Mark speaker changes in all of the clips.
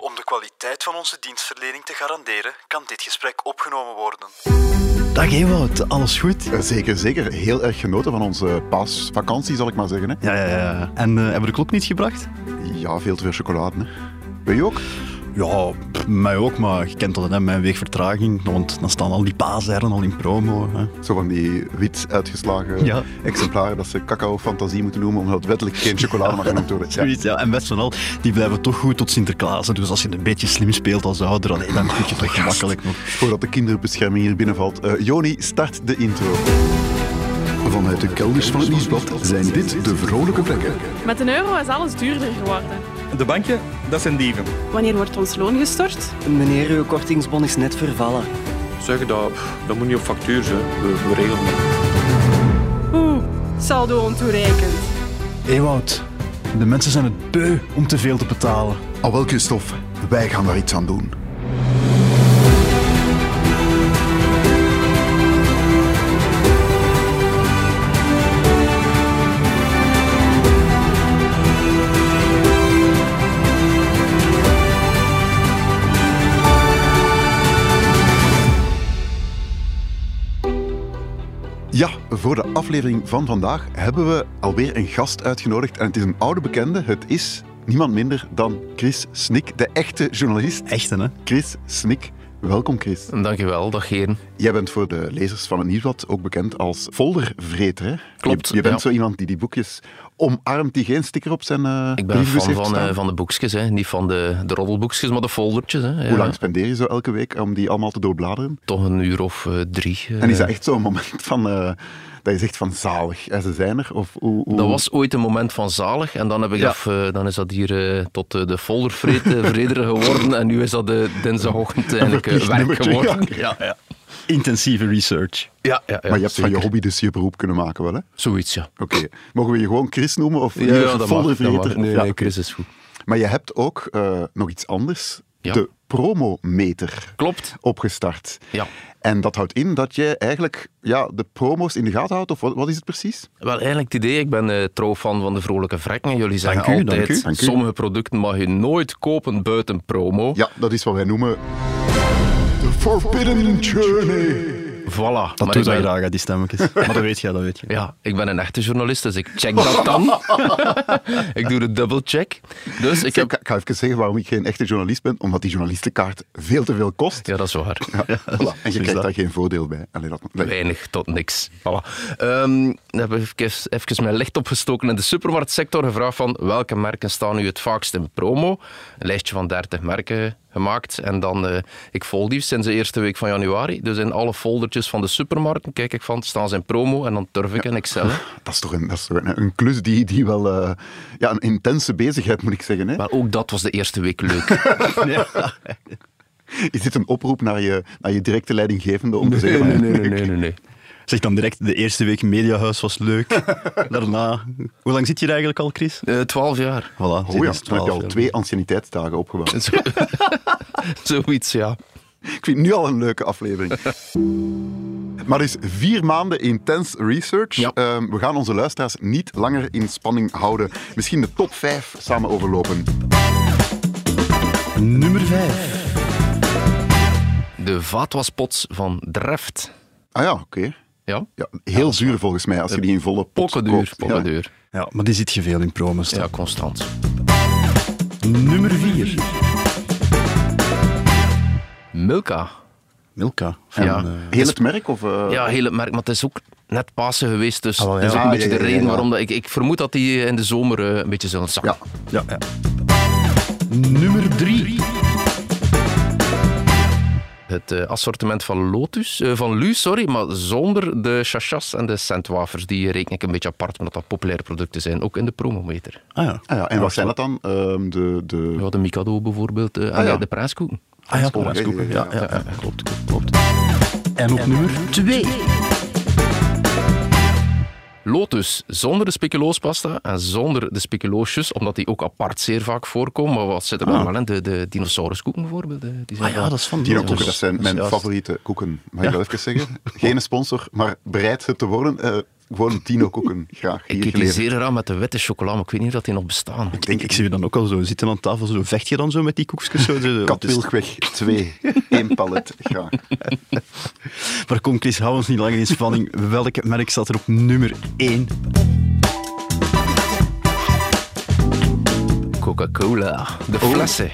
Speaker 1: Om de kwaliteit van onze dienstverlening te garanderen, kan dit gesprek opgenomen worden.
Speaker 2: Dag Ewout, alles goed?
Speaker 3: Eh, Zeker, zeker. Heel erg genoten van onze paasvakantie, zal ik maar zeggen. Hè.
Speaker 2: Ja, ja, ja. En eh, hebben we de klok niet gebracht?
Speaker 3: Ja, veel te veel chocolade. Hè. Wil je ook?
Speaker 2: Ja, pff, mij ook, maar je kent dat, hè, mijn week vertraging. Want dan staan al die paaseieren al in promo. Hè.
Speaker 3: Zo van die wit uitgeslagen
Speaker 2: Ja.
Speaker 3: exemplaren dat ze cacao-fantasie moeten noemen, omdat het wettelijk geen chocolade mag genoemd worden. Ja.
Speaker 2: Zoiets, ja. En best van al, die blijven toch goed tot Sinterklaas. hè. Dus als je het een beetje slim speelt als ouder, allee, dan kun je toch gemakkelijk nog.
Speaker 3: Voordat de kinderbescherming hier binnenvalt. Eh, Joni, start de intro.
Speaker 4: Vanuit de kelders van het nieuwsblad zijn dit de vrolijke plekken.
Speaker 5: Met een euro is alles duurder geworden.
Speaker 6: De bankje, dat zijn dieven.
Speaker 5: Wanneer wordt ons loon gestort?
Speaker 7: Meneer, uw kortingsbon is net vervallen.
Speaker 8: zeggen dat, dat moet niet op factuur zijn. We, we regelen dat.
Speaker 5: Oeh, saldo ontoereikend.
Speaker 2: Ewout, de mensen zijn het beu om te veel te betalen.
Speaker 3: Al wel, Christophe, wij gaan daar iets aan doen. Ja, voor de aflevering van vandaag hebben we alweer een gast uitgenodigd. En het is een oude bekende. Het is niemand minder dan Chris Snik, de echte journalist.
Speaker 2: Echte, hè?
Speaker 3: Chris Snik. Welkom, Chris.
Speaker 9: Dankjewel, dag heren.
Speaker 3: Jij bent voor de lezers van het Nieuwsblad ook bekend als foldervreter. Hè?
Speaker 9: Klopt,
Speaker 3: Je, je bent
Speaker 9: ja.
Speaker 3: zo iemand die die boekjes omarmt die geen sticker op zijn eh
Speaker 9: Ik ben een
Speaker 3: brievenbus
Speaker 9: fan
Speaker 3: heeft
Speaker 9: van,
Speaker 3: staan.
Speaker 9: eh, van de boekjes, hè. niet van de, de roddelboekjes, maar de foldertjes. Hè. Ja,
Speaker 3: Hoe lang spendeer je zo elke week om die allemaal te doorbladeren?
Speaker 9: Toch een uur of eh, drie. eh.
Speaker 3: En is dat echt zo'n moment van, eh, dat je zegt van zalig, hè, ze zijn er? Of, hoe, hoe-
Speaker 9: Dat was ooit een moment van zalig en dan, heb ik
Speaker 2: Ja.
Speaker 9: dat, eh, dan is dat hier eh, tot eh, de foldervreder geworden en nu is dat de dinsdagochtend eigenlijk eh,
Speaker 3: verplicht
Speaker 9: werk
Speaker 3: nummertje,
Speaker 9: geworden. Ja, ja.
Speaker 2: Intensieve research.
Speaker 9: Ja, ja, ja,
Speaker 3: maar je hebt van je
Speaker 9: zeker.
Speaker 3: hobby dus je beroep kunnen maken wel, hè?
Speaker 9: Zoiets, ja.
Speaker 3: Oké. Mogen we je gewoon Chris noemen? Of
Speaker 9: Ja, ja, dat mag. Dat
Speaker 3: foldervreter?
Speaker 9: mag. Nee,
Speaker 3: Ja,
Speaker 9: nee,
Speaker 3: oké.
Speaker 9: Chris is goed.
Speaker 3: Maar je hebt ook eh, nog iets anders.
Speaker 9: Ja.
Speaker 3: De promometer.
Speaker 9: Klopt.
Speaker 3: opgestart.
Speaker 9: Ja.
Speaker 3: En dat houdt in dat jij eigenlijk ja, de promo's in de gaten houdt, of wat, wat is het precies?
Speaker 9: Wel, eigenlijk het idee, ik ben eh trouw fan van de vrolijke vrekken. Jullie zeggen
Speaker 2: Dank u, dank
Speaker 9: altijd,
Speaker 2: u,
Speaker 3: dank u.
Speaker 9: sommige producten mag je nooit kopen buiten promo.
Speaker 3: Ja, dat is wat wij noemen... The Forbidden Journey.
Speaker 9: Voilà.
Speaker 2: Dat
Speaker 9: Maar
Speaker 2: doet
Speaker 9: ik
Speaker 2: hij
Speaker 9: ben-
Speaker 2: raar, die stemmetjes. Maar dat weet jij, dat weet je.
Speaker 9: Ja, ik ben een echte journalist, dus ik check dat dan. ik doe de dubbelcheck. Dus ik
Speaker 3: Ik, heb...
Speaker 9: heb...
Speaker 3: ik ga even zeggen waarom ik geen echte journalist ben, omdat die journalistenkaart veel te veel kost.
Speaker 9: Ja, dat is waar.
Speaker 3: Voilà. En je
Speaker 2: is dat.
Speaker 3: krijgt daar geen voordeel bij. Allee, dat... nee.
Speaker 9: Weinig tot niks. Voilà. Ehm, dan heb ik even, even mijn licht opgestoken in de supermarktsector. Gevraagd van welke merken staan nu het vaakst in promo. Een lijstje van 30 merken gemaakt. En dan, eh, ik volg die sinds de eerste week van januari. Dus in alle foldertjes van de supermarkten kijk ik van, staan ze in promo. En dan turf ik in Excel. hè.
Speaker 3: Dat is toch een, dat is toch een, een klus die, die wel eh, ja, een intense bezigheid, moet ik zeggen. Hè?
Speaker 9: Maar ook dat was de eerste week leuk.
Speaker 3: Is dit een oproep naar je, naar je directe leidinggevende om te zeggen...
Speaker 9: Nee,
Speaker 3: van-
Speaker 9: nee, nee, nee, nee, nee.
Speaker 2: Zeg dan direct, de eerste week Mediahuis was leuk. Daarna, hoe lang zit je er eigenlijk al, Chris?
Speaker 9: Eh, 12 jaar.
Speaker 2: Voilà,
Speaker 3: Oh
Speaker 2: sinds
Speaker 3: ja, dan heb je
Speaker 2: 12
Speaker 3: al
Speaker 2: jaar.
Speaker 3: twee anciëniteitsdagen opgebouwd.
Speaker 9: Zo- Zoiets, ja.
Speaker 3: Ik vind het nu al een leuke aflevering. Maar dus vier maanden intens research.
Speaker 9: Ja.
Speaker 3: Ehm, we gaan onze luisteraars niet langer in spanning houden. Misschien de top vijf samen overlopen.
Speaker 2: Nummer 5.
Speaker 9: De vaatwaspots van Dreft.
Speaker 3: Ah ja, oké.
Speaker 9: Ja?
Speaker 3: Ja, heel zuur volgens mij als je die in volle pot
Speaker 9: Pokkenduur,
Speaker 3: koopt. Ja.
Speaker 9: pokkenduur.
Speaker 2: Ja, maar die zit je veel in promos.
Speaker 9: Ja,
Speaker 2: toch?
Speaker 9: constant.
Speaker 2: Nummer 4.
Speaker 9: Milka.
Speaker 2: Milka. Van,
Speaker 9: Ja.
Speaker 2: eh,
Speaker 3: Heel het merk? Of, eh,
Speaker 9: Ja, heel het merk, maar het is ook net Pasen geweest, dus
Speaker 2: wel, ja.
Speaker 9: dat is ook een
Speaker 3: Ah,
Speaker 9: beetje
Speaker 3: ja,
Speaker 9: de
Speaker 3: ja, ja,
Speaker 9: reden
Speaker 3: ja.
Speaker 9: waarom dat ik, ik vermoed dat die eh, in de zomer eh, een beetje zullen zakken.
Speaker 3: ja.
Speaker 2: ja, ja. Nummer Ah, 3.
Speaker 9: Het eh, assortiment van Lotus, eh, van Lu, sorry, maar zonder de chachas en de centwafers, die reken ik een beetje apart, omdat dat populaire producten zijn, ook in de promometer.
Speaker 2: Ah ja.
Speaker 3: Ah ja, en wat zijn dat dan? Ehm, de, de...
Speaker 9: Ja, de Mikado bijvoorbeeld, eh, en
Speaker 3: ja.
Speaker 9: eh, de prijskoeken.
Speaker 2: Ah ja,
Speaker 3: ja, ja, ja,
Speaker 2: ja, ja, ja, klopt, klopt, klopt. En op nummer 2.
Speaker 9: Lotus dus zonder de speculoospasta en zonder de speculoosjes, omdat die ook apart zeer vaak voorkomen. Maar wat zit er dan wel in? De, de dinosauruskoeken bijvoorbeeld. eh, Die zijn
Speaker 2: Ah ja,
Speaker 9: wel-
Speaker 2: dat is van
Speaker 3: Die
Speaker 2: Lotus.
Speaker 3: koeken, dat zijn mijn
Speaker 2: Juist.
Speaker 3: favoriete koeken. Mag ik dat even zeggen? Geen sponsor, maar bereid het te worden. Eh, gewoon een tien ook een graag
Speaker 9: Ik
Speaker 3: hier geleverd.
Speaker 9: kritiseer eraan met de witte chocola, maar ik weet niet of dat die nog bestaan.
Speaker 2: Ik, denk, ik zie je dan ook al zo zitten aan tafel, zo vecht je dan zo met die koekjes. Zo, zo, Dus, wat is het?
Speaker 3: Katwilgweg 2, één palet graag.
Speaker 2: maar kom Chris, hou ons niet langer in spanning. Welk merk staat er op nummer 1?
Speaker 9: Coca-Cola. De flessen.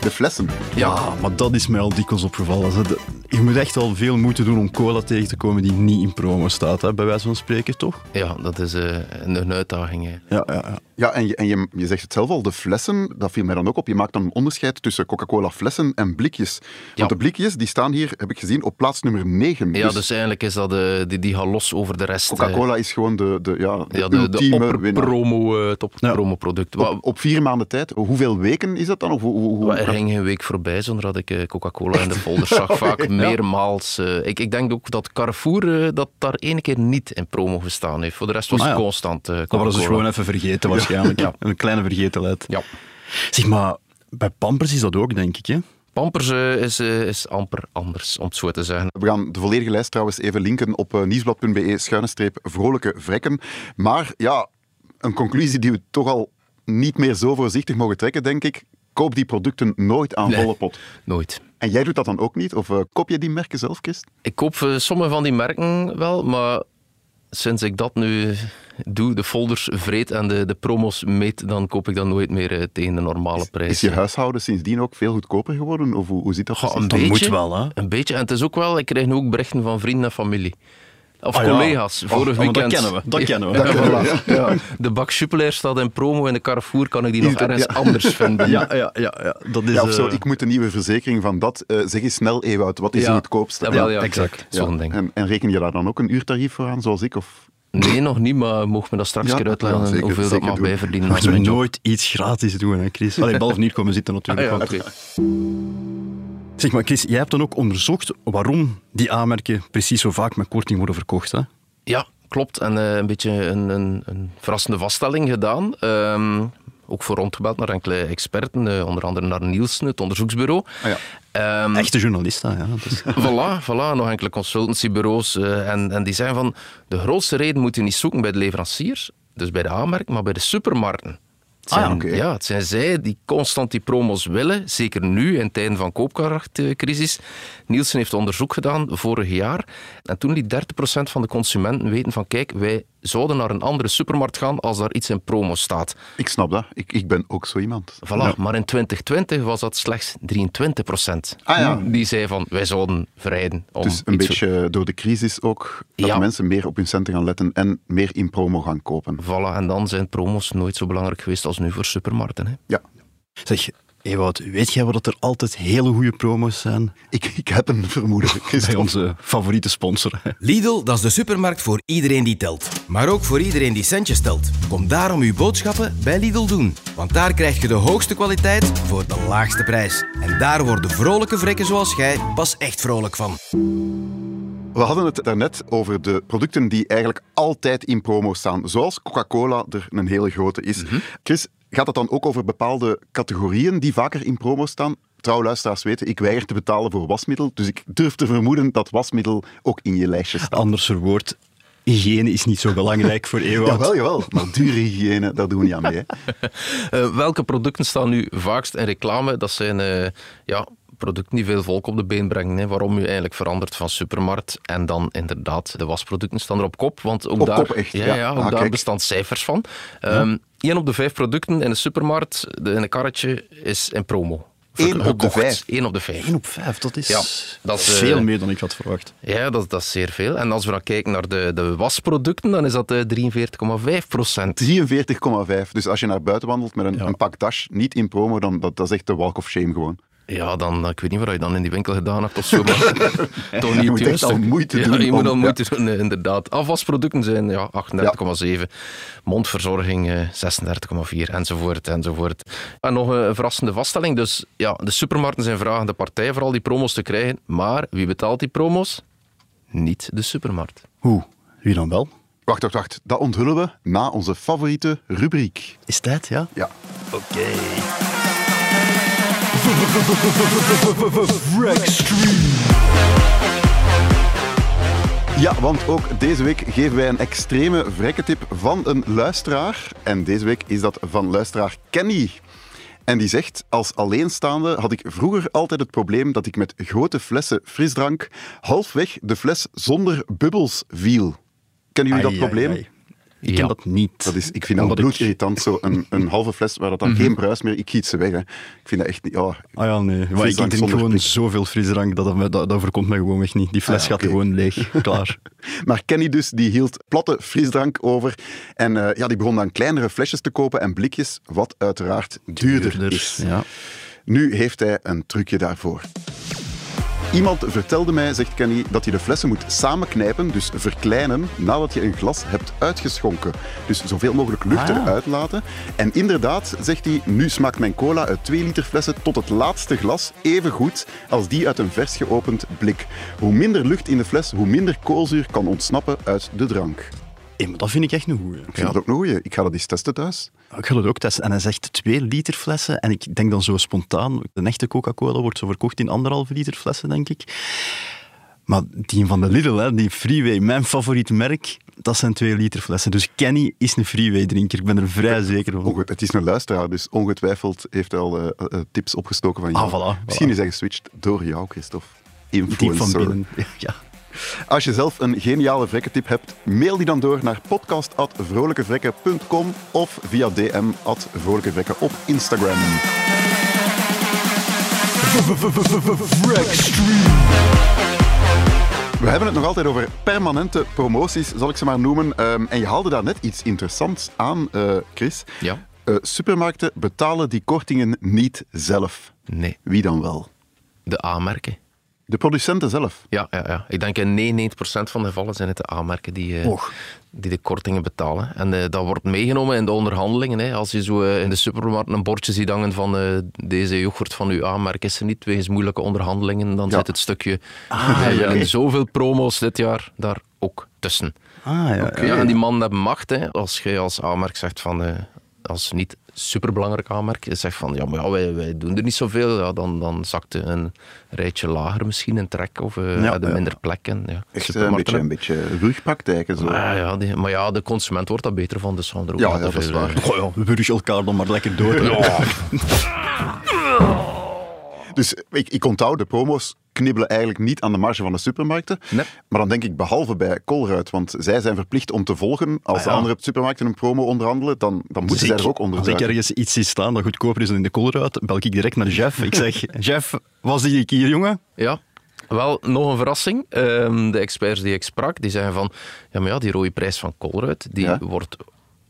Speaker 3: De flessen.
Speaker 9: Ja.
Speaker 2: Ah, maar dat is mij al dikwijls opgevallen. Dat- dat- Je moet echt al veel moeite doen om cola tegen te komen die niet in promo staat, hè, bij wijze van spreken, toch?
Speaker 9: ja, dat is eh, een, een uitdaging. hè.
Speaker 2: Ja, ja, ja.
Speaker 3: Ja, en, je, en je, je zegt het zelf al, de flessen, dat viel mij dan ook op. Je maakt dan een onderscheid tussen Coca-Cola flessen en blikjes. Want
Speaker 9: Ja.
Speaker 3: de blikjes, die staan hier, heb ik gezien, op plaats nummer 9.
Speaker 9: Ja, dus eigenlijk is dat eh, die, die gaat los over de rest. eh,
Speaker 3: Coca-Cola is gewoon de, de, ja, de,
Speaker 9: ja, de, de
Speaker 3: ultieme winnaar.
Speaker 9: opperpromo, eh, het opperpromo-product. Wat-
Speaker 3: Op, op vier maanden tijd, hoeveel weken is dat dan? Of hoe, hoe, hoe-
Speaker 9: wat- Er ging geen week voorbij zonder dat ik eh, Coca-Cola in de folder zag. Vaak meermaals. eh, ik, ik denk ook dat Carrefour eh, dat daar één keer niet in promo gestaan heeft. Voor de rest was
Speaker 2: Ah,
Speaker 9: het
Speaker 2: ja.
Speaker 9: constant eh
Speaker 2: Dat
Speaker 9: Coca-Cola.
Speaker 2: waren ze gewoon even vergeten waarschijnlijk.
Speaker 9: Ja.
Speaker 2: Een kleine vergetelheid.
Speaker 9: Ja.
Speaker 2: Zeg maar, bij Pampers is dat ook, denk ik. Hè?
Speaker 9: Pampers eh, is, eh, is amper anders, om het zo te zeggen.
Speaker 3: We gaan de volledige lijst trouwens even linken op eh, nieuwsblad.be schuine streep vrolijke vrekken. Maar ja, een conclusie die we toch al niet meer zo voorzichtig mogen trekken, denk ik. Koop die producten nooit aan
Speaker 9: Nee.
Speaker 3: volle pot.
Speaker 9: Nooit.
Speaker 3: En jij doet dat dan ook niet? Of eh, koop je die merken zelf, Kist?
Speaker 9: Ik koop eh, sommige van die merken wel, maar sinds ik dat nu eh, doe, de folders vreet en de, de promos meet, dan koop ik dat nooit meer eh, tegen de normale prijs.
Speaker 3: Is je huishouden sindsdien ook veel goedkoper geworden? Of hoe, hoe zit dat?
Speaker 9: Goh,
Speaker 3: precies?
Speaker 2: Dat Dus moet wel, hè?
Speaker 9: Een beetje. En het is ook wel, ik krijg nu ook berichten van vrienden en familie. Of
Speaker 2: Ah, ja.
Speaker 9: collega's,
Speaker 2: Oh,
Speaker 9: vorig
Speaker 2: oh, maar
Speaker 9: weekend.
Speaker 2: Dat kennen we, dat
Speaker 9: Ja.
Speaker 2: kennen we.
Speaker 3: Ja, ja.
Speaker 9: De bak Suppelair staat in promo in de Carrefour, kan ik die nog
Speaker 3: dat-
Speaker 9: ergens
Speaker 3: ja.
Speaker 9: anders vinden.
Speaker 2: Ja, ja, ja, ja. Dat is,
Speaker 3: Ja, of zo,
Speaker 2: eh,
Speaker 3: ik moet een nieuwe verzekering van dat. eh, zeg eens snel, Ewout, wat is
Speaker 9: Ja.
Speaker 3: het goedkoopste?
Speaker 9: Ja, wel, ja,
Speaker 2: exact.
Speaker 9: exact. Zo'n ding.
Speaker 3: En, en reken je daar dan ook een uurtarief voor aan, zoals ik? Of...
Speaker 9: Nee, nog niet, maar mocht me dat straks
Speaker 3: Ja,
Speaker 9: een keer uitleggen
Speaker 3: ja, zeker,
Speaker 9: hoeveel
Speaker 3: zeker
Speaker 9: dat mag
Speaker 3: doen.
Speaker 9: bijverdienen als
Speaker 2: moeten we
Speaker 9: mijn job. Ah,
Speaker 2: nooit iets gratis doen, hè, Chris? Allee, behalve niet komen zitten natuurlijk.
Speaker 9: Ja,
Speaker 2: want-
Speaker 9: oké.
Speaker 2: Zeg maar, Chris, jij hebt dan ook onderzocht waarom die aanmerken precies zo vaak met korting worden verkocht. Hè?
Speaker 9: Ja, klopt. En eh, een beetje een, een, een verrassende vaststelling gedaan. Ehm, ook voor rondgebeld naar enkele experten, eh, onder andere naar Nielsen, het onderzoeksbureau.
Speaker 3: Ah, ja.
Speaker 9: Ehm,
Speaker 2: Echte journalisten, ja. Dat is-
Speaker 9: Voilà, voilà, nog enkele consultancybureaus. eh, en, en die zijn van, de grootste reden moet je niet zoeken bij de leveranciers, dus bij de aanmerk, maar bij de supermarkten. Het
Speaker 3: Ah ja,
Speaker 9: zijn,
Speaker 3: oké.
Speaker 9: ja, het zijn zij die constant die promos willen, zeker nu in tijden van koopkrachtcrisis. Nielsen heeft onderzoek gedaan vorig jaar en toen liet 30% van de consumenten weten van kijk, wij zouden naar een andere supermarkt gaan als daar iets in promo staat.
Speaker 3: Ik snap dat. Ik, ik ben ook zo iemand.
Speaker 9: Voilà, maar in 2020 was dat slechts 23 procent.
Speaker 3: Ah ja.
Speaker 9: Die zei van, wij zouden verrijden om
Speaker 3: Dus een
Speaker 9: iets-
Speaker 3: beetje door de crisis ook, dat
Speaker 9: Ja.
Speaker 3: mensen meer op hun centen gaan letten en meer in promo gaan kopen.
Speaker 9: Voilà, en dan zijn promos nooit zo belangrijk geweest als nu voor supermarkten. Hè?
Speaker 3: Ja,
Speaker 2: Zeg, Ewout, weet jij wat dat er altijd hele goede promo's zijn?
Speaker 3: ik, ik heb een vermoeden.
Speaker 2: Bij
Speaker 3: Christophe.
Speaker 2: onze favoriete sponsor.
Speaker 10: Lidl, dat is de supermarkt voor iedereen die telt. Maar ook voor iedereen die centjes telt. Kom daarom uw boodschappen bij Lidl doen. Want daar krijg je de hoogste kwaliteit voor de laagste prijs. En daar worden vrolijke vrekken zoals jij pas echt vrolijk van.
Speaker 3: We hadden het daarnet over de producten die eigenlijk altijd in promo staan. Zoals Coca-Cola er een hele grote is.
Speaker 9: Mhm.
Speaker 3: Chris, gaat het dan ook over bepaalde categorieën die vaker in promo staan? Trouw luisteraars weten, ik weiger te betalen voor wasmiddel. Dus ik durf te vermoeden dat wasmiddel ook in je lijstje staat.
Speaker 2: Anders verwoord, hygiëne is niet zo belangrijk voor Ewout.
Speaker 3: Jawel, jawel. Maar dure hygiëne, daar doen we niet aan mee. hè.
Speaker 9: Eh, welke producten staan nu vaakst in reclame? Dat zijn eh, ja, producten die veel volk op de been brengen. Hè? Waarom u eigenlijk verandert van supermarkt. En dan inderdaad, de wasproducten staan er op kop. Want ook
Speaker 3: Op
Speaker 9: daar,
Speaker 3: kop echt,
Speaker 9: Ja,
Speaker 3: ja.
Speaker 9: ja,
Speaker 3: Ah,
Speaker 9: ook daar
Speaker 3: kijk.
Speaker 9: bestaan cijfers van. Eén op de vijf producten in de supermarkt, de- in een karretje, is in promo.
Speaker 3: Eén op de
Speaker 9: Gekocht.
Speaker 3: vijf?
Speaker 9: Eén op de vijf.
Speaker 2: 1 op 5, dat is,
Speaker 9: Ja, dat is, eh,
Speaker 2: veel meer dan ik had verwacht.
Speaker 9: Ja, dat, dat is zeer veel. En als we dan kijken naar de, de wasproducten, dan is dat eh, 43,5 procent.
Speaker 3: 43,5. Dus als je naar buiten wandelt met een, een pak dash, niet in promo, dan dat, dat is echt de walk of shame gewoon.
Speaker 9: Ja, dan, eh, ik weet niet wat je dan in die winkel gedaan hebt of zo. Maar toch niet
Speaker 3: Je moet
Speaker 9: het
Speaker 3: echt al
Speaker 9: juiste.
Speaker 3: moeite doen
Speaker 9: Ja, je moet
Speaker 3: om-
Speaker 9: al moeite doen, eh, inderdaad. Afwasproducten zijn ja, 38,7. Mondverzorging eh, 36,4 enzovoort, enzovoort. En nog eh, een verrassende vaststelling. Dus ja, de supermarkten zijn vragende partij vooral die promos te krijgen. Maar wie betaalt die promos? Niet de supermarkt.
Speaker 2: Hoe? Wie dan wel?
Speaker 3: Wacht, wacht, wacht. Dat onthullen we na onze favoriete rubriek.
Speaker 2: Is tijd, ja?
Speaker 3: Ja. Ja, want ook deze week geven wij een extreme vrekketip van een luisteraar. En deze week is dat van luisteraar Kenny. En die zegt, als alleenstaande had ik vroeger altijd het probleem dat ik met grote flessen frisdrank halfweg de fles zonder bubbels viel. Kennen jullie dat
Speaker 2: Ai, ai,
Speaker 3: probleem?
Speaker 2: ai. Ik
Speaker 9: Ja.
Speaker 2: ken dat niet.
Speaker 3: Dat is, ik vind dat
Speaker 2: Omdat ik- Mhm.
Speaker 3: bloedirritant, zo een, een halve fles waar dat dan geen bruis meer... Ik giet ze weg, hè. Ik vind dat echt niet... Oh,
Speaker 2: Ah ja, nee. Maar ik
Speaker 3: Frisdrank
Speaker 2: drink
Speaker 3: zonder
Speaker 2: gewoon
Speaker 3: prik.
Speaker 2: zoveel frisdrank, dat, dat, dat, dat voorkomt mij gewoon echt niet. Die fles
Speaker 3: Ah ja,
Speaker 2: gaat
Speaker 3: oké.
Speaker 2: gewoon leeg, klaar.
Speaker 3: Maar Kenny dus, die hield platte frisdrank over. En eh, ja, die begon dan kleinere flesjes te kopen en blikjes, wat uiteraard duurder, is.
Speaker 2: Dus, Ja.
Speaker 3: Nu heeft hij een trucje daarvoor. Iemand vertelde mij, zegt Kenny, dat je de flessen moet samenknijpen, dus verkleinen, nadat je een glas hebt uitgeschonken. Dus zoveel mogelijk lucht eruit laten. En inderdaad, zegt hij, nu smaakt mijn cola uit 2 liter flessen tot het laatste glas even goed als die uit een vers geopend blik. Hoe minder lucht in de fles, hoe minder koolzuur kan ontsnappen uit de drank. Ik
Speaker 2: Hé, maar dat vind ik echt een goeie.
Speaker 3: vind dat ook een goeie. Ik ga dat eens testen thuis.
Speaker 2: Ik ga dat ook testen. En hij zegt 2 liter flessen. En ik denk dan zo spontaan, de echte Coca-Cola wordt zo verkocht in anderhalve liter flessen, denk ik. Maar die van de Lidl, hè, die Freeway, mijn favoriet merk, dat zijn 2 liter flessen. Dus Kenny is een Freeway-drinker, ik ben er vrij zeker van.
Speaker 3: Onge- het is een luisteraar, dus ongetwijfeld heeft hij al eh, eh, tips opgestoken van jou.
Speaker 2: Ah, voilà,
Speaker 3: Misschien
Speaker 2: voilà.
Speaker 3: is hij geswitcht door jou, Christophe.
Speaker 2: Diep
Speaker 3: Influencer.
Speaker 2: van binnen. Ja.
Speaker 3: Als je zelf een geniale vrekkentip hebt, mail die dan door naar podcast.vrolijkevrekken.com of via dm at vrolijkevrekken op Instagram. We hebben het nog altijd over permanente promoties, zal ik ze maar noemen. Ehm, en je haalde daar net iets interessants aan, eh, Chris.
Speaker 9: Ja.
Speaker 3: Eh, supermarkten betalen die kortingen niet zelf.
Speaker 9: Nee,
Speaker 3: Wie dan wel?
Speaker 9: de A-merken.
Speaker 3: De producenten zelf.
Speaker 9: Ja, ja, ja, ik denk in 99% van de gevallen zijn het de aanmerken die, eh, die de kortingen betalen. En eh, dat wordt meegenomen in de onderhandelingen. Hè. Als je zo eh, in de supermarkt een bordje ziet hangen van eh, deze yoghurt van uw aanmerk is er niet, wegens moeilijke onderhandelingen, dan zit het stukje "Wij willen zoveel promo's dit jaar daar ook tussen.
Speaker 2: Ah, ja.
Speaker 9: Ja, en die mannen hebben macht. Hè. Als je als aanmerk zegt van... eh, als niet superbelangrijk aanmerk, je zegt van ja, maar ja, wij, wij doen er niet zoveel, ja, dan, dan zakt een rijtje lager misschien een trek of eh
Speaker 2: Ja,
Speaker 9: hadden
Speaker 2: ja.
Speaker 9: minder plekken. Ja.
Speaker 3: Echt eh, een
Speaker 9: Supermarkten
Speaker 3: beetje, een beetje rugpraktijken. Zo.
Speaker 9: hebben- Ah, ja, die- maar ja, de consument wordt daar beter van, dus gaan er ook
Speaker 3: Ja,
Speaker 9: wel
Speaker 3: ja,
Speaker 9: te
Speaker 3: dat is
Speaker 9: veel,
Speaker 3: waar.
Speaker 9: eh,
Speaker 2: Goh, ja, we wurgen elkaar dan maar lekker door. Ja.
Speaker 3: Dus ik, ik onthoud, de promo's knibbelen eigenlijk niet aan de marge van de supermarkten.
Speaker 9: Nee.
Speaker 3: Maar dan denk ik behalve bij Colruyt, want zij zijn verplicht om te volgen. Als de andere supermarkten een promo onderhandelen, dan, dan moeten
Speaker 2: Ah,
Speaker 3: zij
Speaker 2: Dus ik-
Speaker 3: er ook onder
Speaker 2: Als ik
Speaker 3: duiken.
Speaker 2: ergens iets zie staan dat goedkoper is dan in de koolruit, bel ik direct naar Jeff. Ik zeg, Jeff, was die ik hier, jongen?
Speaker 9: Ja, wel nog een verrassing. Ehm, de experts die ik sprak, die zeggen van... Ja, maar ja, die rode prijs van Colruyt, die
Speaker 3: Ja.
Speaker 9: wordt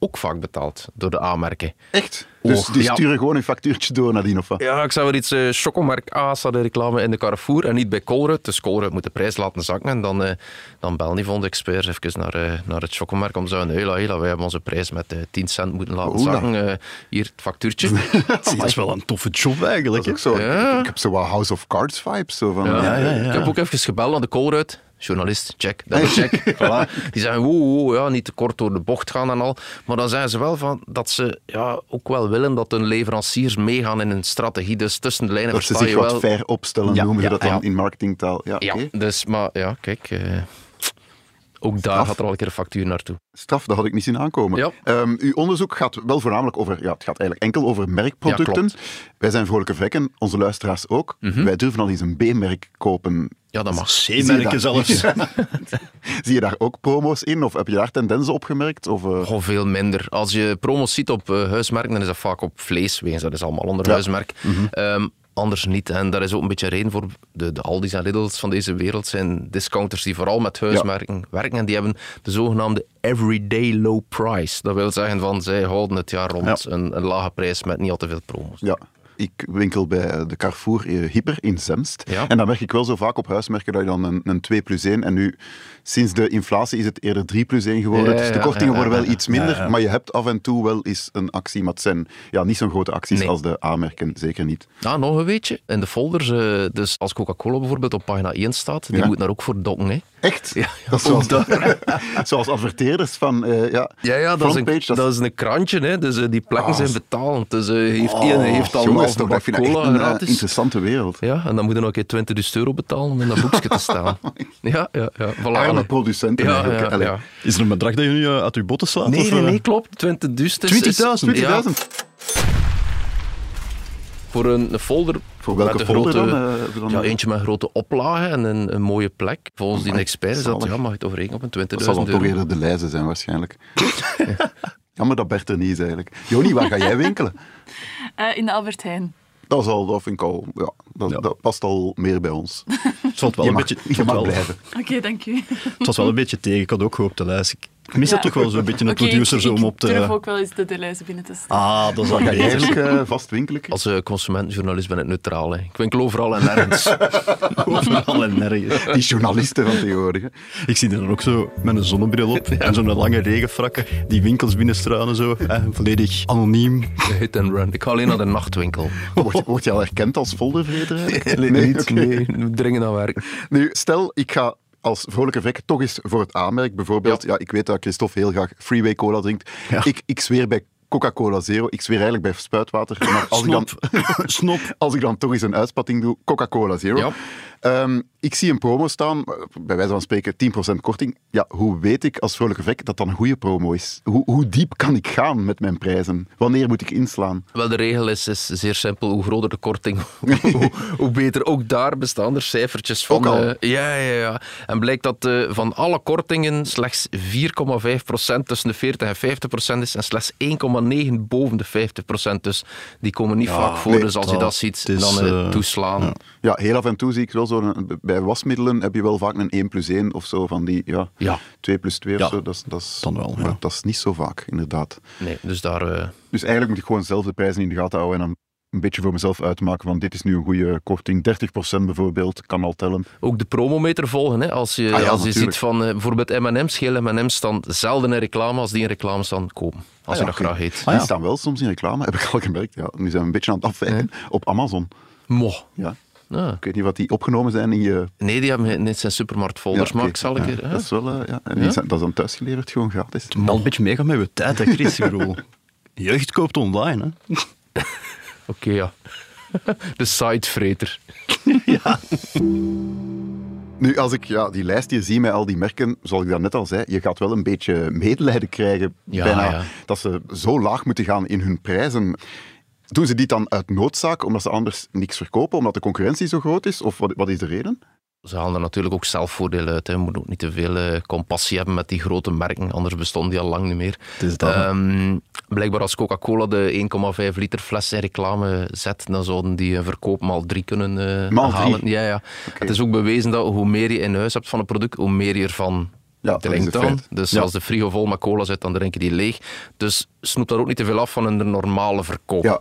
Speaker 9: ook vaak betaald door de aanmerken.
Speaker 3: Echt? Dus
Speaker 2: Oh,
Speaker 9: Och,
Speaker 3: die
Speaker 9: ja.
Speaker 3: sturen gewoon hun factuurtje door nadien of wat?
Speaker 9: Ja, ik zou er iets eh chocomerk A staat de reclame in de Carrefour en niet bij Colruyt. Dus Colruyt moet de prijs laten zakken en dan, eh dan bel die van de experts even naar, eh, naar het chocomerk om te zeggen hela, hela, wij hebben onze prijs met eh, 10 cent moeten laten
Speaker 3: Oela.
Speaker 9: zakken. Eh, hier, het factuurtje.
Speaker 2: Zie, nou. dat is wel een toffe job eigenlijk.
Speaker 3: Dat is
Speaker 2: hè.
Speaker 3: ook zo.
Speaker 9: Ja.
Speaker 3: Ik, ik heb zo wat House of Cards vibes. Zo van, eh,
Speaker 9: Ja,
Speaker 2: ja, ja.
Speaker 9: Ik heb ook even gebeld aan de Colruyt. Journalist, check, dat is check. voilà. Die zeggen, wow, wow, ja, niet te kort door de bocht gaan en al. Maar dan zeggen ze wel van, dat ze ja, ook wel willen dat hun leveranciers meegaan in hun strategie. Dus tussen de lijnen
Speaker 3: Dat ze
Speaker 9: versta
Speaker 3: zich
Speaker 9: je
Speaker 3: wat
Speaker 9: wel...
Speaker 3: fair opstellen,
Speaker 2: Ja,
Speaker 3: noemen ze
Speaker 2: ja,
Speaker 3: dat dan
Speaker 2: ja.
Speaker 3: in marketingtaal. Ja,
Speaker 9: Ja,
Speaker 3: oké.
Speaker 9: dus, maar ja, kijk... eh, ook daar gaat er al een keer een factuur naartoe.
Speaker 3: Straf, dat had ik niet zien aankomen.
Speaker 9: Ja.
Speaker 3: Ehm, uw onderzoek gaat wel voornamelijk over, ja, het gaat eigenlijk enkel over merkproducten.
Speaker 9: Ja, Mhm.
Speaker 3: Wij zijn vrolijke vrekken, onze luisteraars ook. Wij durven al eens een B-merk kopen.
Speaker 9: Ja, dat mag.
Speaker 2: Zeemerken
Speaker 3: Zie je dat?
Speaker 2: zelfs.
Speaker 3: Zie je daar ook promo's in? Of heb je daar tendensen op gemerkt? Of, eh,
Speaker 9: Gewoon veel minder. Als je promos ziet op eh, huismerken, dan is dat vaak op vlees. Wegens dat is allemaal onder huismerk. Ehm, anders niet. En daar is ook een beetje reden voor. De, de Aldi's en Lidl's van deze wereld zijn discounters die vooral met huismerken werken. En die hebben de zogenaamde everyday low price. Dat wil zeggen van zij houden het jaar rond een, een lage prijs met niet al te veel promos.
Speaker 3: ja. Ik winkel bij eh, de Carrefour eh, Hyper in Zemst.
Speaker 9: Ja.
Speaker 3: En dan merk ik wel zo vaak op huismerken dat je dan een, een 2 plus 1... En nu, sinds de inflatie is het eerder 3 plus 1 geworden.
Speaker 9: Ja,
Speaker 3: dus de
Speaker 9: ja,
Speaker 3: kortingen
Speaker 9: ja, ja,
Speaker 3: worden wel
Speaker 9: ja.
Speaker 3: iets minder. Maar je hebt af en toe wel eens een actie. Maar het zijn ja, niet zo'n grote acties
Speaker 9: Nee.
Speaker 3: als de A-merken. Zeker niet.
Speaker 9: Ah, nog een weetje. In de folders, eh, dus als Coca-Cola bijvoorbeeld op pagina 1 staat, die
Speaker 3: Ja.
Speaker 9: moet daar ook voor dokken. Hè.
Speaker 3: Echt? dat is zoals, zoals adverteerders van... eh, ja,
Speaker 9: Ja, ja dat, is een,
Speaker 3: frontpage,
Speaker 9: dat is een krantje, hè. dus eh, die plekken zijn betalend. Dus eh, heeft, één heeft al
Speaker 3: Ah. Oh, jongens, is toch, ik vind dat echt
Speaker 9: cola
Speaker 3: een eh,
Speaker 9: gratis.
Speaker 3: interessante wereld.
Speaker 9: Ja, en dan moet je nog een keer 20 euro betalen om in dat boekje te staan. Ja, ja, ja. Voilà,
Speaker 3: Arme
Speaker 9: allee.
Speaker 3: producenten
Speaker 9: Ja,
Speaker 3: eigenlijk.
Speaker 9: ja,
Speaker 3: Allee.
Speaker 9: ja.
Speaker 2: Is er een bedrag dat je nu eh, uit je botten slaat?
Speaker 9: Nee,
Speaker 2: of,
Speaker 9: nee,
Speaker 2: eh?
Speaker 9: nee, klopt. 20 dus. dus is-
Speaker 2: 20.000,
Speaker 9: ja,
Speaker 3: 20.000.
Speaker 9: voor een folder.
Speaker 3: Voor welke
Speaker 9: met een
Speaker 3: folder
Speaker 9: grote,
Speaker 3: dan? eh, hebben we dan?
Speaker 9: Ja, eentje met grote oplagen en een, een mooie plek. Volgens die expert is dat,
Speaker 3: zalig.
Speaker 9: ja, mag je het overrekenen op een 20.000
Speaker 3: Dat zal dan toch
Speaker 9: euro.
Speaker 3: eerder de lijzen zijn, waarschijnlijk. Jammer dat Bert er niet is, eigenlijk. Joni, waar ga jij winkelen?
Speaker 11: Eh, in de Albert Heijn.
Speaker 3: Dat, is al, dat vind ik al... Ja, dat, dat past al meer bij ons.
Speaker 2: Het valt wel
Speaker 3: Je
Speaker 2: een
Speaker 3: mag,
Speaker 2: beetje... het
Speaker 3: je
Speaker 2: valt
Speaker 3: mag
Speaker 2: wel-
Speaker 3: blijven.
Speaker 11: Oké, dank u.
Speaker 2: Het was wel een beetje tegen. Ik had ook gehoopt, Deleuze. Ik mis
Speaker 11: Ja.
Speaker 2: dat toch wel zo'n beetje een
Speaker 11: Oké,
Speaker 2: producer
Speaker 11: ik,
Speaker 2: zo om
Speaker 11: ik
Speaker 2: op te...
Speaker 11: durf ook wel eens de Deleuze binnen te staan.
Speaker 2: Ah, dat is al
Speaker 3: Ga jij
Speaker 2: beter.
Speaker 3: eigenlijk eh, vast winkelen?
Speaker 9: Als eh, consumentenjournalist ben ik neutraal. Hè. Ik winkel overal en nergens.
Speaker 2: Overal en nergens.
Speaker 3: Die journalisten van tegenwoordig. hè.
Speaker 2: Ik zie er dan ook zo met een zonnebril op en zo'n lange regenfrak die winkels binnenstruinen zo. Hè, volledig anoniem.
Speaker 9: Hit and run. Ik ga alleen naar de nachtwinkel.
Speaker 3: Word, word je al herkend als foldervreder? eigenlijk?
Speaker 9: niet.
Speaker 3: oké.
Speaker 9: Nee, dringend aan werk.
Speaker 3: Nu, stel, ik ga als vrolijke vek toch eens voor het aanmerk. Bijvoorbeeld, ja. ik weet dat Christophe heel graag Freeway Cola drinkt. Ik, ik zweer bij Coca-Cola Zero. Ik zweer eigenlijk bij spuitwater. Maar als ik, dan,
Speaker 2: Snop.
Speaker 3: als ik dan toch eens een uitspatting doe, Coca-Cola Zero.
Speaker 9: Ja.
Speaker 3: Ehm, ik zie een promo staan, eh, bij wijze van spreken 10% korting. Ja, hoe weet ik als vrolijke vek dat dat een goede promo is? Hoe, hoe diep kan ik gaan met mijn prijzen? Wanneer moet ik inslaan?
Speaker 9: Wel, de regel is, is zeer simpel. Hoe groter de korting, hoe, hoe beter. Ook daar bestaan er cijfertjes van.
Speaker 3: Ook al.
Speaker 9: eh, ja, ja, ja. En blijkt dat eh, van alle kortingen slechts 4,5% tussen de 40 en 50 is en slechts 1,9 boven de 50 Dus die komen niet vaak voor.
Speaker 3: nee,
Speaker 9: dus als je dat
Speaker 2: dat
Speaker 9: ziet,
Speaker 2: is,
Speaker 9: dan eh,
Speaker 2: eh,
Speaker 9: toeslaan. Ja.
Speaker 3: Ja, heel af en toe zie ik wel zo'n... Bij wasmiddelen heb je wel vaak een 1 plus 1 of zo van die... Ja,
Speaker 9: Ja.
Speaker 3: 2 plus 2
Speaker 2: Ja,
Speaker 3: of zo. Dat, is- dat is,
Speaker 2: dan wel, ja.
Speaker 3: maar dat is niet zo vaak, inderdaad.
Speaker 9: Nee, dus daar... eh,
Speaker 3: Dus eigenlijk moet ik gewoon zelf de prijzen in de gaten houden en dan een beetje voor mezelf uitmaken van dit is nu een goede korting. 30% bijvoorbeeld, kan al tellen.
Speaker 9: ook de promometer volgen. Hè. Als je,
Speaker 3: Ah ja,
Speaker 9: als je
Speaker 3: natuurlijk.
Speaker 9: ziet van eh, bijvoorbeeld M&M's, geel M&M's staan zelden in reclame als die in reclame staan, kopen. Als je
Speaker 3: Ah ja,
Speaker 9: dat
Speaker 3: oké.
Speaker 9: graag eet.
Speaker 3: Die staan wel soms in reclame, heb ik al gemerkt. Ja, nu zijn we een beetje aan het afwijken. Op Amazon.
Speaker 9: Mo.
Speaker 3: Ja.
Speaker 9: Ja.
Speaker 3: Ik weet niet wat die opgenomen zijn in je...
Speaker 9: Nee, die hebben net zijn supermarkt
Speaker 3: Ja,
Speaker 9: folders, maar
Speaker 3: oké.
Speaker 9: ik zal ik
Speaker 3: Ja,
Speaker 9: er... hè?
Speaker 3: Dat is wel... eh, ja. En die zijn- dat is dan thuisgeleverd, gewoon gratis.
Speaker 2: Man, een beetje meegaan met je tijd, hè, Chris. Ik bedoel, Jeugd koopt online, hè.
Speaker 9: Oké, ja. De sidevreter.
Speaker 3: Nu, als ik ja, die lijst hier zie met al die merken, zoals ik net al zei, je gaat wel een beetje medelijden krijgen
Speaker 9: Ja,
Speaker 3: bijna,
Speaker 9: ja.
Speaker 3: dat ze zo laag moeten gaan in hun prijzen. Doen ze dit dan uit noodzaak, omdat ze anders niks verkopen, omdat de concurrentie zo groot is? Of wat, wat is de reden?
Speaker 9: Ze halen er natuurlijk ook zelf voordeel uit. Hè. Je moet ook niet te veel eh, compassie hebben met die grote merken, anders bestonden die al lang niet meer.
Speaker 2: Het is dat.
Speaker 9: Ehm, blijkbaar als Coca-Cola de 1,5 liter fles in reclame zet, dan zouden die een verkoop maal drie kunnen eh,
Speaker 3: Maal drie?
Speaker 9: halen. Ja, ja. Het is ook bewezen dat hoe meer je in huis hebt van een product, hoe meer je ervan
Speaker 3: Ja, dat is
Speaker 9: drinkt
Speaker 3: het
Speaker 9: dan.
Speaker 3: feit.
Speaker 9: Dus als de frigo vol met cola zit, dan drinken die leeg. Dus snoep daar ook niet te veel af van een normale verkoop.
Speaker 3: Ja,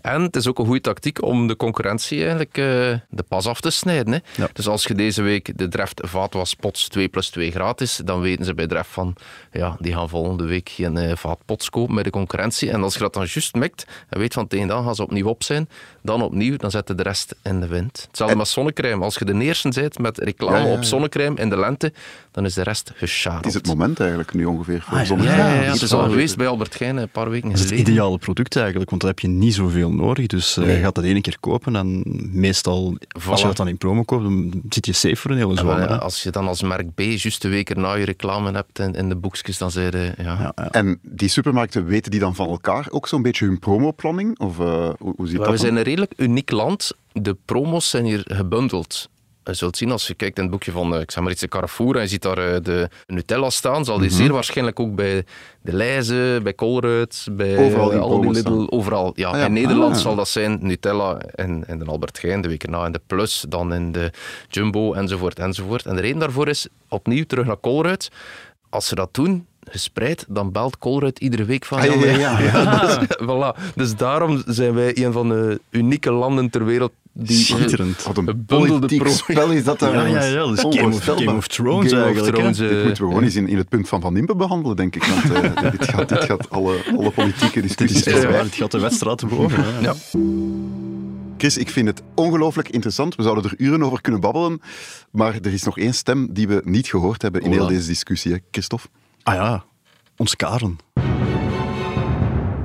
Speaker 9: En het is ook een goede tactiek om de concurrentie eigenlijk eh, de pas af te snijden. Hè. Dus als je deze week de Dreft vaatwaspots 2 plus 2 gratis, dan weten ze bij Dreft van, ja, die gaan volgende week geen eh, vaatpots kopen bij de concurrentie. En als je dat dan juist mikt en weet van tegen dan gaan ze opnieuw op zijn, dan opnieuw, dan zet je de rest in de wind. Hetzelfde met zonnecrème. Als je de eerste bent met reclame
Speaker 3: Ja, ja, ja.
Speaker 9: op zonnecrème in de lente, dan is de rest
Speaker 3: het
Speaker 9: geschaad.
Speaker 3: is het moment eigenlijk nu ongeveer voor
Speaker 2: Ah, ja.
Speaker 3: zondag.
Speaker 9: Ja, ja, ja,
Speaker 3: dat
Speaker 9: het is
Speaker 3: wel
Speaker 9: al
Speaker 3: leuk.
Speaker 9: geweest bij Albert Heijn een paar weken
Speaker 2: Dat is
Speaker 9: geleden.
Speaker 2: het ideale product eigenlijk, want daar heb je niet zoveel nodig. Dus eh, je gaat dat één keer kopen en meestal, als
Speaker 9: Voilà. Ah,
Speaker 2: je dat dan in promo koopt, dan zit je safe voor een hele
Speaker 9: Maar
Speaker 2: zomer.
Speaker 9: ja,
Speaker 2: hè.
Speaker 9: als je dan als merk B juist de week erna je reclame hebt in, in de boekjes, dan zei je... Ja.
Speaker 3: En die supermarkten, weten die dan van elkaar ook zo'n beetje hun promoplanning? Of eh, hoe, hoe zit dat?
Speaker 9: Maar we
Speaker 3: dan?
Speaker 9: zijn een redelijk uniek land. De promos zijn hier gebundeld. Je zult zien als je kijkt in het boekje van, eh, ik zeg maar iets, de Carrefour, en je ziet daar eh, de Nutella staan, zal die zeer waarschijnlijk ook bij de Leijzen, bij Colruyt, bij
Speaker 3: Overal die
Speaker 9: eh, al die
Speaker 3: promos
Speaker 9: Lidl,
Speaker 3: staan.
Speaker 9: overal. Ja,
Speaker 3: ja.
Speaker 9: In Nederland
Speaker 3: Ah.
Speaker 9: zal dat zijn Nutella en, en de Albert Heijn, de week erna in de Plus, dan in de Jumbo, enzovoort, enzovoort. En de reden daarvoor is, opnieuw terug naar Colruyt, als ze dat doen, gespreid, dan belt Colruyt iedere week van...
Speaker 3: Ah, ja,
Speaker 9: "Jongen,
Speaker 3: ja, ja.
Speaker 9: dus, voilà. Dus daarom zijn wij een van de unieke landen ter wereld die
Speaker 2: Schitterend.
Speaker 3: Wat een
Speaker 9: Gebundelde
Speaker 3: politiek
Speaker 9: pro-
Speaker 3: spel is dat daar.
Speaker 2: Ja, ja, ja, dat is Game of,
Speaker 3: Onvoorstelbaar.
Speaker 2: Game of Thrones
Speaker 9: Game of
Speaker 2: eigenlijk. hè.
Speaker 9: Thrones, eh,
Speaker 3: Dit moeten we gewoon eens in, in het punt van Van Impe behandelen, denk ik. Want eh, dit gaat, dit gaat alle, alle politieke
Speaker 2: Dit
Speaker 3: discussies
Speaker 2: is echt
Speaker 3: voorbij.
Speaker 2: waar, het gaat de wedstrijd te boven. hè.
Speaker 9: Ja.
Speaker 3: Chris, ik vind het ongelooflijk interessant. We zouden er uren over kunnen babbelen. Maar er is nog één stem die we niet gehoord hebben in
Speaker 9: Ola.
Speaker 3: heel deze discussie, hè, Christophe.
Speaker 2: Ah ja, ons Karen.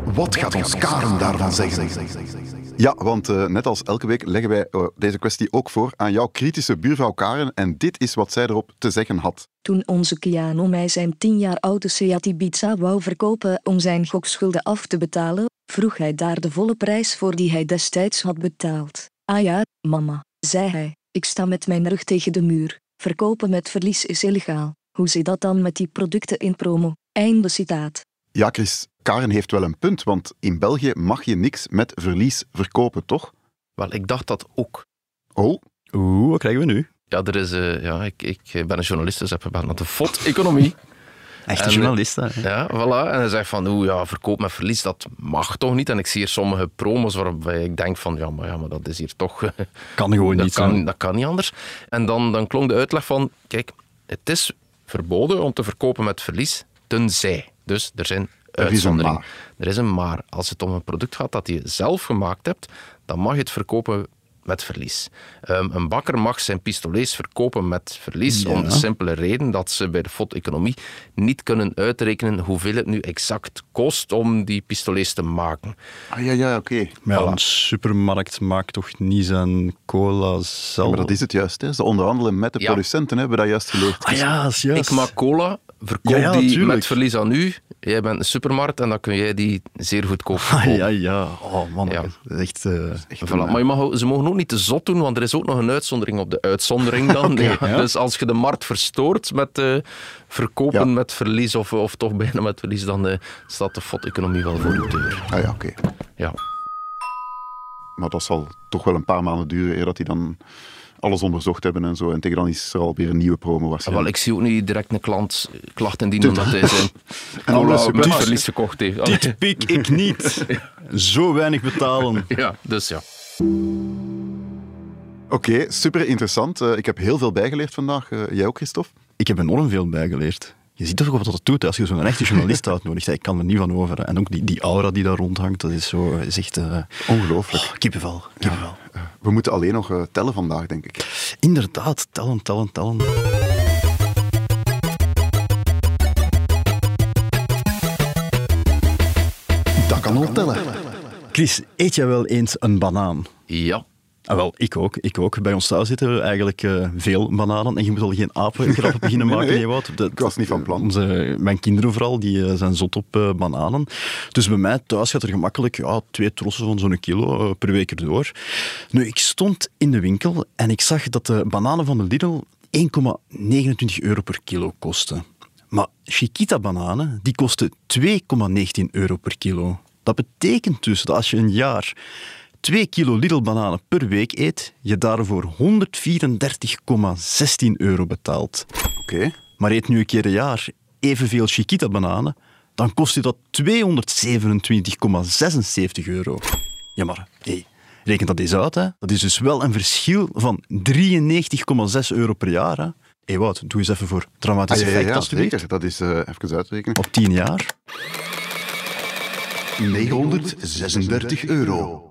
Speaker 4: Wat gaat ons Karen daarvan zeggen?
Speaker 3: Ja, want eh, net als elke week leggen wij eh, deze kwestie ook voor aan jouw kritische buurvrouw Karen. En dit is wat zij erop te zeggen had.
Speaker 12: Toen onze Keanu mij zijn 10 jaar oude Seat Ibiza wou verkopen om zijn gokschulden af te betalen, vroeg hij daar de volle prijs voor die hij destijds had betaald. Ah ja, mama, zei hij, ik sta met mijn rug tegen de muur. Verkopen met verlies is illegaal. Hoe zit dat dan met die producten in promo? Einde citaat.
Speaker 3: Ja, Chris, Karen heeft wel een punt, want in België mag je niks met verlies verkopen, toch?
Speaker 9: Wel, ik dacht dat ook.
Speaker 3: Oh?
Speaker 2: Oeh, wat krijgen we nu?
Speaker 9: Ja, er is, eh, ja ik, ik ben een journalist, dus ik ben aan de fot economie.
Speaker 2: Echte
Speaker 9: En, eh,
Speaker 2: journalist, hè.
Speaker 9: Ja, voilà. En hij zegt van, oeh, ja, verkoop met verlies, dat mag toch niet? En ik zie hier sommige promos waarbij ik denk van, ja, maar, ja, maar dat is hier toch... eh,
Speaker 2: Kan gewoon
Speaker 9: dat
Speaker 2: niet, hè.
Speaker 9: Kan, dat kan niet anders. En dan, dan klonk de uitleg van, kijk, het is verboden om te verkopen met verlies, tenzij. Dus er zijn
Speaker 3: een
Speaker 9: uitzonderingen.
Speaker 3: maar.
Speaker 9: Er is een maar. Als het om een product gaat dat je zelf gemaakt hebt, dan mag je het verkopen met verlies. Ehm, een bakker mag zijn pistolets verkopen met verlies, om de simpele reden dat ze bij de FOD-economie niet kunnen uitrekenen hoeveel het nu exact kost om die pistolets te maken.
Speaker 3: Ah ja, ja, oké.
Speaker 2: Maar ja, een supermarkt maakt toch niet zijn cola zelf?
Speaker 3: Maar dat is het juist, hè. Ze onderhandelen met de
Speaker 9: Ja.
Speaker 3: producenten, hebben we dat juist geleerd.
Speaker 2: Ah ja, dat is juist.
Speaker 9: Ik maak cola, verkoop
Speaker 2: Ja, ja,
Speaker 9: die
Speaker 2: tuurlijk.
Speaker 9: met verlies aan u. Jij bent een supermarkt en dan kun jij die zeer goedkoop
Speaker 2: Ah,
Speaker 9: verkopen.
Speaker 2: ja, ja. Oh man,
Speaker 9: Ja.
Speaker 2: dat is echt... eh,
Speaker 9: Voilà. Maar je mag, ook- ze mogen ook niet te zot doen, want er is ook nog een uitzondering op de uitzondering dan. Ja, Dus als je de markt verstoort met eh, verkopen
Speaker 3: Ja.
Speaker 9: met verlies of, of toch bijna met verlies, dan eh, staat de FOD-economie wel voor de deur.
Speaker 3: Ah ja, oké.
Speaker 9: Ja.
Speaker 3: Maar dat zal toch wel een paar maanden duren eer dat die dan alles onderzocht hebben en zo. En tegen dan is er alweer een nieuwe promo
Speaker 9: En Ah, wel,
Speaker 3: waarschijnlijk.
Speaker 9: ik zie ook niet direct een klant klachten indienen omdat hij zijn
Speaker 2: Ah,
Speaker 3: En
Speaker 2: Oh,
Speaker 3: alle
Speaker 9: cola met
Speaker 3: succes.
Speaker 9: verlies gekocht heeft.
Speaker 2: Dit pik ik niet. Zo weinig betalen.
Speaker 9: Ja, dus ja.
Speaker 3: Oké, super interessant. Eh, ik heb heel veel bijgeleerd vandaag. Eh, jij ook, Christophe?
Speaker 2: Ik heb enorm veel bijgeleerd. Je ziet toch wat dat het doet hè, als je zo'n echte journalist uitnodigt. hè. Ik kan er niet van over. hè. En ook die, die aura die daar rondhangt, dat is zo is echt... eh,
Speaker 3: Ongelooflijk.
Speaker 2: oh, kippenvel, kippenvel.
Speaker 3: We moeten alleen nog eh, tellen vandaag, denk ik.
Speaker 2: Inderdaad, tellen, tellen, tellen.
Speaker 3: Dat kan al tellen.
Speaker 2: Chris, eet jij wel eens een banaan?
Speaker 9: Ja.
Speaker 2: Ah, wel, ik ook, ik ook. Bij ons thuis zitten we eigenlijk eh, veel bananen. En je moet al geen apengrappen beginnen maken,
Speaker 3: nee.
Speaker 2: nee, Wout. Dat-
Speaker 3: Ik was niet van plan.
Speaker 2: Onze, mijn kinderen vooral, die eh, zijn zot op eh, bananen. Dus bij mij thuis gaat er gemakkelijk ja, twee trossen van zo'n kilo eh, per week erdoor. Nu, ik stond in de winkel en ik zag dat de bananen van de Lidl 1,29 euro per kilo kosten. Maar Chiquita-bananen, die kosten 2,19 euro per kilo. Dat betekent dus dat als je een jaar 2 kilo Lidl-bananen per week eet, je daarvoor 134,16 euro betaalt.
Speaker 3: Oké.
Speaker 2: Maar eet nu een keer een jaar evenveel Chiquita-bananen, dan kost je dat 227,76 euro. Ja, maar hey, reken dat eens uit. Hè. Dat is dus wel een verschil van 93,6 euro per jaar. Hè. hey, Wout, doe eens even voor
Speaker 3: Ah,
Speaker 2: dramatisch
Speaker 3: ja, ja,
Speaker 2: effect,
Speaker 3: ja,
Speaker 2: alsjeblieft.
Speaker 3: zeker. Dat is, eh, even uitrekenen.
Speaker 2: Op 10 jaar.
Speaker 4: 936 euro.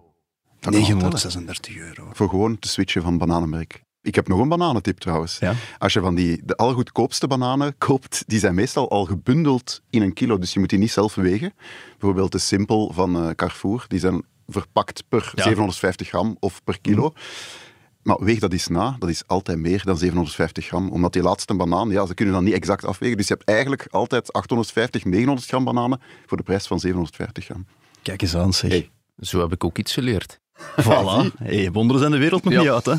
Speaker 3: Dat kan al tellen.
Speaker 2: 936 euro.
Speaker 3: voor gewoon te switchen van bananenmerk. Ik heb nog een bananentip trouwens.
Speaker 2: Ja.
Speaker 3: Als je van die de allergoedkoopste bananen koopt, die zijn meestal al gebundeld in een kilo, dus je moet die niet zelf wegen. Bijvoorbeeld de Simpel van eh, Carrefour, die zijn verpakt per 750 gram of per kilo. Maar weeg dat eens na, dat is altijd meer dan 750 gram. Omdat die laatste banaan, ja, ze kunnen dat niet exact afwegen. Dus je hebt eigenlijk altijd 850, 900 gram bananen voor de prijs van 750 gram.
Speaker 2: Kijk eens aan, zeg.
Speaker 3: Hey. Ah,
Speaker 9: Zo heb ik ook iets geleerd.
Speaker 2: Voilà. Hey, wonderen zijn de wereld nog
Speaker 9: Ja.
Speaker 2: niet uit, hè.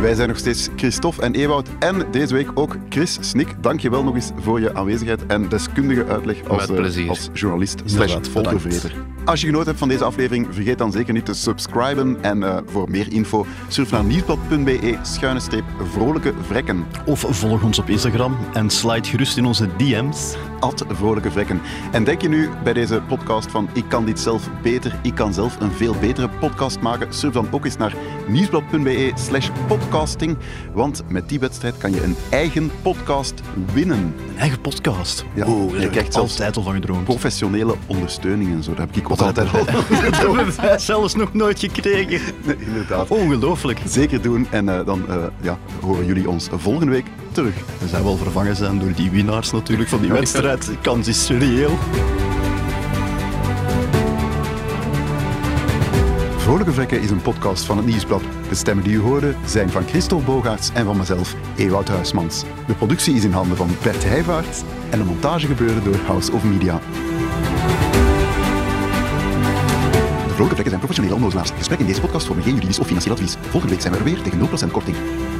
Speaker 3: Wij zijn nog steeds Christophe en Ewout en deze week ook Chris Snik. Dank je wel nog eens voor je aanwezigheid en deskundige uitleg als,
Speaker 9: Met
Speaker 3: eh,
Speaker 9: plezier.
Speaker 3: als journalist slash
Speaker 2: Inderdaad,
Speaker 3: volkervreder. Als je genoten hebt van deze aflevering, vergeet dan zeker niet te subscriben. En eh, voor meer info, surf naar nieuwsblad.be schuine streep vrolijke vrekken.
Speaker 2: Of volg ons op Instagram en slide gerust in onze DM's.
Speaker 3: At vrolijke vrekken. En denk je nu bij deze podcast van ik kan dit zelf beter, ik kan zelf een veel betere podcast maken, surf dan ook eens naar nieuwsblad.be slash podcasting, want met die wedstrijd kan je een eigen podcast winnen.
Speaker 2: Een eigen podcast.
Speaker 3: Ja,
Speaker 2: Wow,
Speaker 3: je
Speaker 2: daar heb ik
Speaker 3: krijgt zelfs
Speaker 2: altijd al van gedroomd.
Speaker 3: professionele ondersteuning en zo. Dat heb ik ook altijd al.
Speaker 2: Dat hebben wij zelfs nog nooit gekregen.
Speaker 3: Nee, inderdaad.
Speaker 2: Ongelooflijk.
Speaker 3: Zeker doen en eh, dan eh, ja, horen jullie ons volgende week terug.
Speaker 2: We zijn wel vervangen zijn door die winnaars natuurlijk van die wedstrijd. De kans is reëel.
Speaker 3: Vrolijke Vrekken is een podcast van het Nieuwsblad. De stemmen die u hoorde zijn van Christophe Bogaerts en van mezelf, Ewout Huismans. De productie is in handen van Bert Heijvaart en de montage gebeurde door House of Media. De Vrolijke Vrekken zijn professionele onnozelaars. Gesprekken in deze podcast vormen geen juridisch of financieel advies. Volgende week zijn we er weer tegen 0% korting.